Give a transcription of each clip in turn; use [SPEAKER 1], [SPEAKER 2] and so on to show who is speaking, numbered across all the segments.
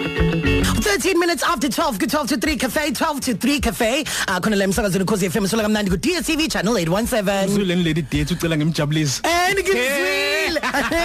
[SPEAKER 1] 13 minutes after 12 ku-12 to 3 cafe 12 to 3 cafe Uh, akhona la emsakazweni ukhozi fm sola kamnandi ku-dstv channel 817
[SPEAKER 2] Zuleni lady date ucela ngimjabulise.
[SPEAKER 1] and ngizwile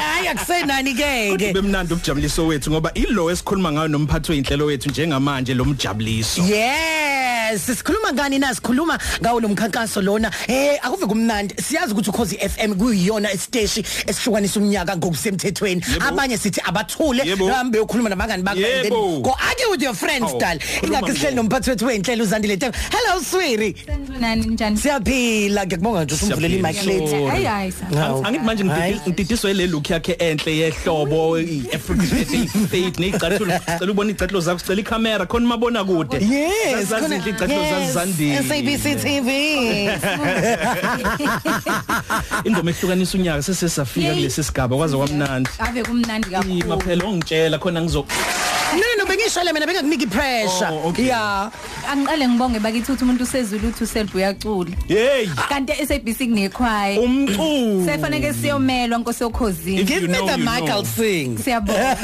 [SPEAKER 1] hayi akusenani
[SPEAKER 2] Kodwa
[SPEAKER 1] ke ke
[SPEAKER 2] bemnandi ubujabuliso wethu ngoba ilo esikhuluma ngayo nomphathi weinhlelo wethu njengamanje lo mjabuliso.
[SPEAKER 1] Yes, sikhuluma ngani na sikhuluma ngawo lo mkhankaso lona. Eh akuve kumnandi. Siyazi ukuthi ukhozi FM kuyiyona isiteshi esihlukanisa umnyaka ngokusemthethweni.
[SPEAKER 2] Yebo.
[SPEAKER 1] Abanye sithi abathule
[SPEAKER 2] Yebo.
[SPEAKER 1] hambe ukhuluma nabangani bakho and then
[SPEAKER 2] Yebo.
[SPEAKER 1] go argue with your friends
[SPEAKER 2] Hawu,
[SPEAKER 1] dal.
[SPEAKER 2] khuluma
[SPEAKER 1] Ingakho sihleli
[SPEAKER 2] nje.
[SPEAKER 1] nomphathi wethu weinhlelo uZandile Tebe. Hello Swiri.
[SPEAKER 3] Sanibonani njani?
[SPEAKER 1] Siyaphila ngiyakubonga nje usungivulele
[SPEAKER 2] Siyaphila.
[SPEAKER 1] imic late.
[SPEAKER 2] Sorry.
[SPEAKER 3] Hayi hayi sa.
[SPEAKER 1] Hawu.
[SPEAKER 2] Angithi manje
[SPEAKER 1] Hayi.
[SPEAKER 2] ngididi- ngididiswa ile look yakhe enhle yehlobo iAfrican fade neicathulo cela ubone icathulo zakho cela ikhamera khona mabona kude.
[SPEAKER 1] Yes,
[SPEAKER 2] khona
[SPEAKER 1] khona-
[SPEAKER 2] icathulo
[SPEAKER 1] yes,
[SPEAKER 2] zazizandile.
[SPEAKER 1] SABC
[SPEAKER 2] Oh,
[SPEAKER 1] TV.
[SPEAKER 2] Indoma ehlukanisa unyaka sesesafika
[SPEAKER 3] Yay.
[SPEAKER 2] kulesi sigaba kwaze kwamnandi.
[SPEAKER 3] Ave kumnandi
[SPEAKER 2] Ima
[SPEAKER 3] kakhulu.
[SPEAKER 2] phela ongitshela khona ngizok
[SPEAKER 1] No no no bengishale mina bengakuniki pressure.
[SPEAKER 2] Oh, okay.
[SPEAKER 1] Yeah.
[SPEAKER 3] Angiqale ngibonge bakithi uthi umuntu usezulu uthi uself uyacula.
[SPEAKER 2] Hey
[SPEAKER 3] Kanti SABC kunekhwaye.
[SPEAKER 2] umculo.
[SPEAKER 3] Sefaneke siyomelwa Nkosi yokhozini.
[SPEAKER 2] If
[SPEAKER 1] Give
[SPEAKER 2] you
[SPEAKER 1] me
[SPEAKER 2] know,
[SPEAKER 1] the
[SPEAKER 2] you
[SPEAKER 1] mic
[SPEAKER 2] know.
[SPEAKER 1] I'll sing.
[SPEAKER 3] Siyabonga.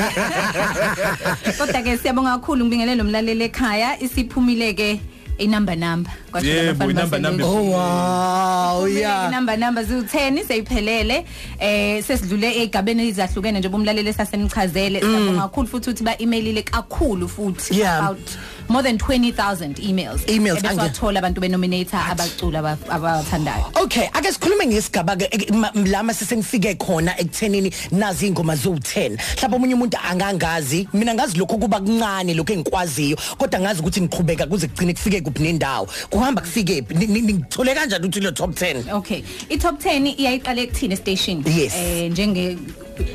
[SPEAKER 3] Kodwa ke siyabonga kakhulu ngibingelele umlaleli ekhaya isiphumile ke inamba namba.
[SPEAKER 2] Yebo, inamba number.
[SPEAKER 1] Oh wow,
[SPEAKER 3] yeah
[SPEAKER 1] Oh, yeah.
[SPEAKER 3] inamba namba ziwu10 seyiphelele eh sesidlule egabeni izahlukene njengoba umlaleli esasemchazele siyabonga kakhulu futhi uthi ba emailile kakhulu futhi
[SPEAKER 1] Mm. Yeah.
[SPEAKER 3] about more than 20000 emails
[SPEAKER 1] Emails, ange-
[SPEAKER 3] ebathola abantu benominator abacula aba- abathandayo
[SPEAKER 1] Okay, ake sikhulume ngesigaba ke ek- ma- lama sesengifike khona ekuthenini nazi ingoma zo10. Mhlawumbe umunye umuntu angangazi, mina ngazi lokho kuba kuncane lokho engikwaziyo, kodwa ngazi ukuthi ngiqhubeka kuze kugcine kufike kuphi nendawo. Kuhamba kufike phi? Ni- ni- ningithole kanjani ukuthi lo top 10?
[SPEAKER 3] okay i top 10 iyayiqale kuthina station
[SPEAKER 1] Yes.
[SPEAKER 3] eh njenge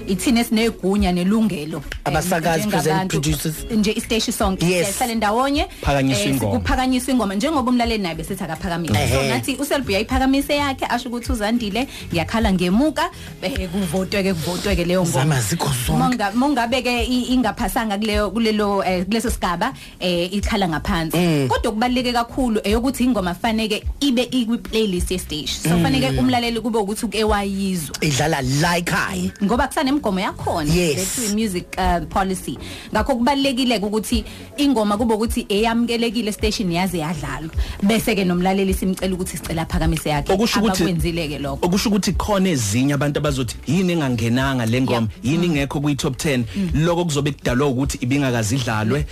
[SPEAKER 3] ithina esinegunya nelungelo eh,
[SPEAKER 1] Abasakazi,
[SPEAKER 3] njengabantu.
[SPEAKER 1] present producers.
[SPEAKER 3] nje isteshi sonke Eh,
[SPEAKER 1] Yes.
[SPEAKER 3] sihlale ndawonye
[SPEAKER 2] Phakanyiswa
[SPEAKER 3] eh,
[SPEAKER 2] ingoma.
[SPEAKER 3] kuphakanyiswa ingoma njengoba umlaleli naye bese akaphakamise so
[SPEAKER 1] Ehhe.
[SPEAKER 3] ngathi uselbi uyayiphakamise yakhe asho ukuthi uzandile ngiyakhala ngemuka eh kuvotwe ke kuvotwe ke leyo ngoma
[SPEAKER 1] Zama zikho zonke.
[SPEAKER 3] Monga mongabe ke i- ingaphasanga kuleyo kulelo eh, kuleso sigaba eh ikhala ngaphansi kodwa kubaleke kakhulu eyokuthi ingoma faneke ibe ikwi playlist ye stage so faneke umlaleli kube ukuthi uke wayizwa
[SPEAKER 1] Idlala like high.
[SPEAKER 3] ngoba kusanemigomo yakhona
[SPEAKER 1] Yes.
[SPEAKER 3] lethu music uh, policy ngakho kubalekile ukuthi ingoma kube ukuthi eyamukelekile station yaze yadlalwa bese ke nomlaleli simcela ukuthi sicela phakamise yakhe
[SPEAKER 2] okusho ukuthi
[SPEAKER 3] abakwenzile ke lokho
[SPEAKER 2] okusho ukuthi khona ezinye abantu abazothi yini engangenanga lengoma
[SPEAKER 3] Yeah. Mm.
[SPEAKER 2] yini ingekho kwi top 10 lokho kuzobe kudalwa ukuthi ibingakazidlalwe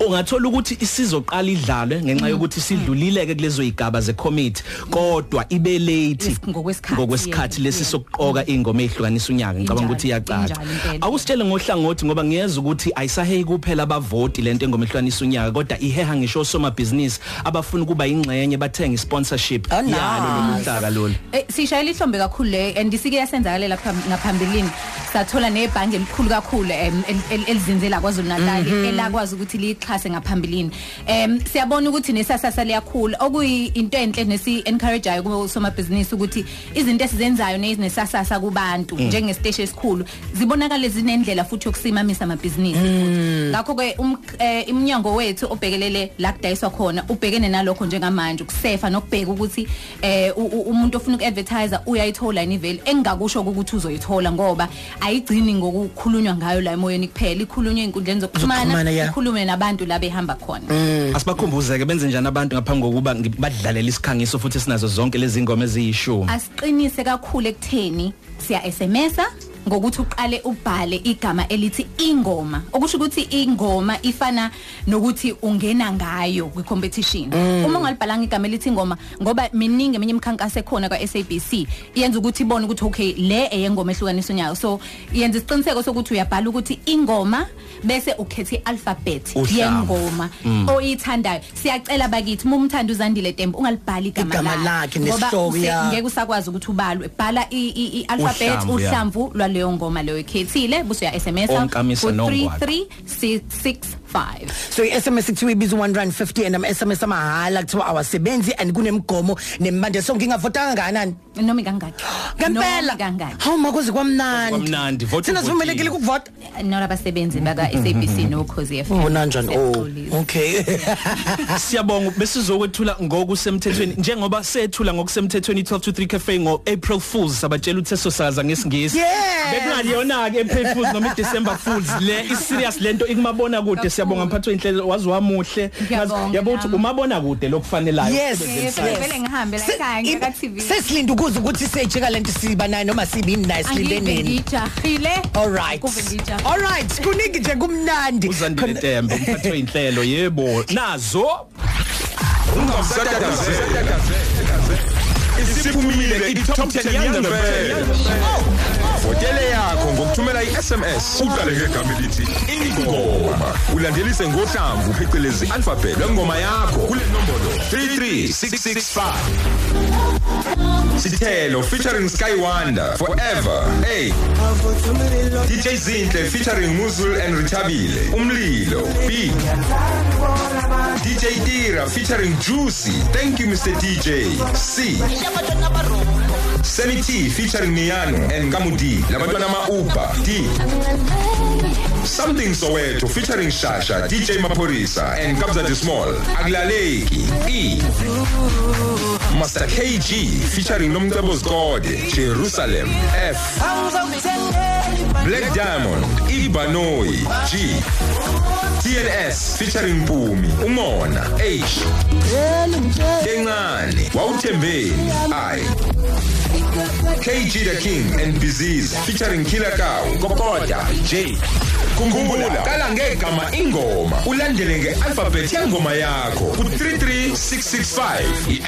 [SPEAKER 2] ungathola ukuthi isizoqala idlalwe
[SPEAKER 3] Mm.
[SPEAKER 2] ngenxa yokuthi sidlulileke kulezo igaba ze committee kodwa ibe late
[SPEAKER 3] Is- ngokwesikhathi,
[SPEAKER 2] ngokwesikhathi
[SPEAKER 3] yeah.
[SPEAKER 2] lesi sokuqoka ingoma ehlukanisa unyaka ngicabanga
[SPEAKER 3] Injalo,
[SPEAKER 2] ukuthi iyacaca
[SPEAKER 3] injalo impela.
[SPEAKER 2] awusitshele ngohlangothi ngoba ngiyeza ukuthi ayisaheyi kuphela abavoti lento engoma ehlukanisa unyaka kodwa iheha ngisho somabhizinisi abafuna ukuba ingxenye bathenga sponsorship
[SPEAKER 1] Oh, nice.
[SPEAKER 2] lolu hlaka lolu
[SPEAKER 3] Eh sishayela ihlombe kakhulu le and isike yasenzakala lapha ngaphambilini sathola nebhange elikhulu kakhulu em, el- el- elizinze la kwaZulu Natal elakwazi ukuthi lixhase ngaphambilini em siyabona ukuthi nesasasa liyakhula okuyinto enhle nesi encourage ayo kusomabhizinisi ukuthi izinto esizenzayo nezinesasasa kubantu njengesteshi esikhulu zibonakala zinendlela futhi yokusimamisa
[SPEAKER 1] Hmm.
[SPEAKER 3] amabhizinisi ngakho ke um- eh, iminyango wethu obhekelele la kudayiswa khona ubhekene nalokho njengamanje ukusefa nokubheka ukuthi eh u- u- umuntu ofuna ukuadvertiser uyayithola yini value engingakusho ukuthi uzoyithola ngoba ayigcini ngokukhulunywa ngayo la emoyeni kuphela ikhulunywa einkundleni
[SPEAKER 1] Zokuxhumana,
[SPEAKER 3] zokuxhumana
[SPEAKER 1] yeah.
[SPEAKER 3] ikhulume nabantu la behamba khona
[SPEAKER 2] asibakhumbuzeke benze njani abantu ngaphambi kokuba ngi- badlalele isikhangiso futhi sinazo zonke lezi ngoma eziyishumi
[SPEAKER 3] asiqinise kakhulu ekutheni siya SMSa ngokuthi uqale ubhale igama elithi ingoma okusho ukuthi ingoma ifana nokuthi ungena ngayo kwicompetition
[SPEAKER 1] Mm.
[SPEAKER 3] uma ungalibhalanga igama elithi ingoma ngoba miningi eminye imikhankaso ekhona kwa SABC iyenza ukuthi ibone ukuthi okay le eyengoma ehlukanisa unyawo so yenza isiqiniseko sokuthi uyabhala ukuthi ingoma bese ukhethe alphabet
[SPEAKER 2] Uhlamvu.
[SPEAKER 3] yengoma
[SPEAKER 1] Mm.
[SPEAKER 3] oyithandayo siyacela bakithi mumthanda uzandile Tembe ungalibhali igama
[SPEAKER 1] Igama lakhe nesihloko,
[SPEAKER 3] use-
[SPEAKER 1] yeah.
[SPEAKER 3] ngeke usakwazi ukuthi ubalwe bhala i- i i- alphabet
[SPEAKER 2] Uhlamvu, yeah.
[SPEAKER 3] uhlamvu lwaleyo ngoma leyo ekhethile busuya SMS
[SPEAKER 2] Onkamisa nongwaqa.
[SPEAKER 3] 336 5
[SPEAKER 1] so i-sms kuthiwa ibiza u-150 and ama-sms amahhala kuthiwa awasebenzi and kunemigomo nemibandela so ngingavota kangakanani
[SPEAKER 3] noma ingangaki Noma
[SPEAKER 1] ngempela
[SPEAKER 3] ingangaki
[SPEAKER 1] hawu makwaze kwamnandi
[SPEAKER 2] Kwamnandi, vote
[SPEAKER 1] thina
[SPEAKER 2] uvotile.
[SPEAKER 1] sivumelekile ukuvota
[SPEAKER 3] nolabasebenzi baka-sabc nokhozi
[SPEAKER 1] Oh, ubonanjani
[SPEAKER 3] Siyaxolisa.
[SPEAKER 1] o okay
[SPEAKER 2] siyabonga besizokwethula ngokusemthethweni njengoba sethula ngokusemthethweni 1223 cafe ngo April Fools sabatshela utheso saza ngesingisi
[SPEAKER 1] Yes.
[SPEAKER 2] bekungaliyona ke April Fools noma i December Fools le is serious lento ikumabona kude
[SPEAKER 3] Kakhulu.
[SPEAKER 2] siyabonga mphathwe inhlelo waziwamuhle
[SPEAKER 3] Ngiyabonga
[SPEAKER 2] yabuthi
[SPEAKER 3] nami.
[SPEAKER 2] umabona kude lokufanelayo
[SPEAKER 1] Yes.
[SPEAKER 2] Usebenzise
[SPEAKER 1] Yes.
[SPEAKER 2] isandla.
[SPEAKER 3] vele ngihambe la
[SPEAKER 1] Se-
[SPEAKER 3] ekhaya
[SPEAKER 1] in-
[SPEAKER 3] ngiyaka-tv
[SPEAKER 1] sesilinde ukuze ukuthi seyijika lento siba nayo noma sibe nayo silinde
[SPEAKER 3] angive
[SPEAKER 1] nini
[SPEAKER 3] ngijahile
[SPEAKER 1] all right
[SPEAKER 3] Akuve ngijahile
[SPEAKER 1] all right kuningi nje kumnandi
[SPEAKER 2] uzandile tembe umphathwe inhlelo yebo nazo
[SPEAKER 4] ungamsadadaze isiphumile i-top 10 yangempela votele yakho ngokuthumela i-sms uqale ngegama elithi ingoma ulandelise ngohlamvu phecelezi alfabet lwengoma yakho kule nombolo 33665 sithelo oh, featuring sky wonder forever hey dj zinhle featuring muzul and ritabile umlilo b DJ Tira featuring Juicy. Thank you, Mr. DJ. C. Sammy T featuring Miano and Gamudi. Labantwana ma Uber. D. Something Soweto featuring Shasha, DJ Maporisa and Kabza the Small. Aglaleki. E. Master KG featuring Nomtabo Zgode. Jerusalem. F. Black Diamond. Ibanoi. G. TNS featuring Mpumi Umona H Kencane Wawuthembeni I KG the King and Disease featuring Killer Cow Kokoda J Kumbula qala ngegama ingoma ulandele ngealphabet yengoma yakho ku33665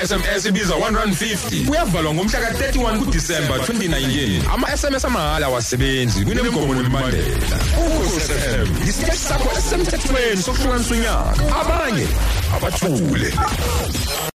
[SPEAKER 4] iSMS ibiza 150 uyavalwa ngomhla ka31 kuDisemba 2019 ama SMS amahala wasebenzi kunemigomo nemibandela ukhosi FM isiteshi sakho esisemthethweni sokuhlukanisa unyaka abanye abathule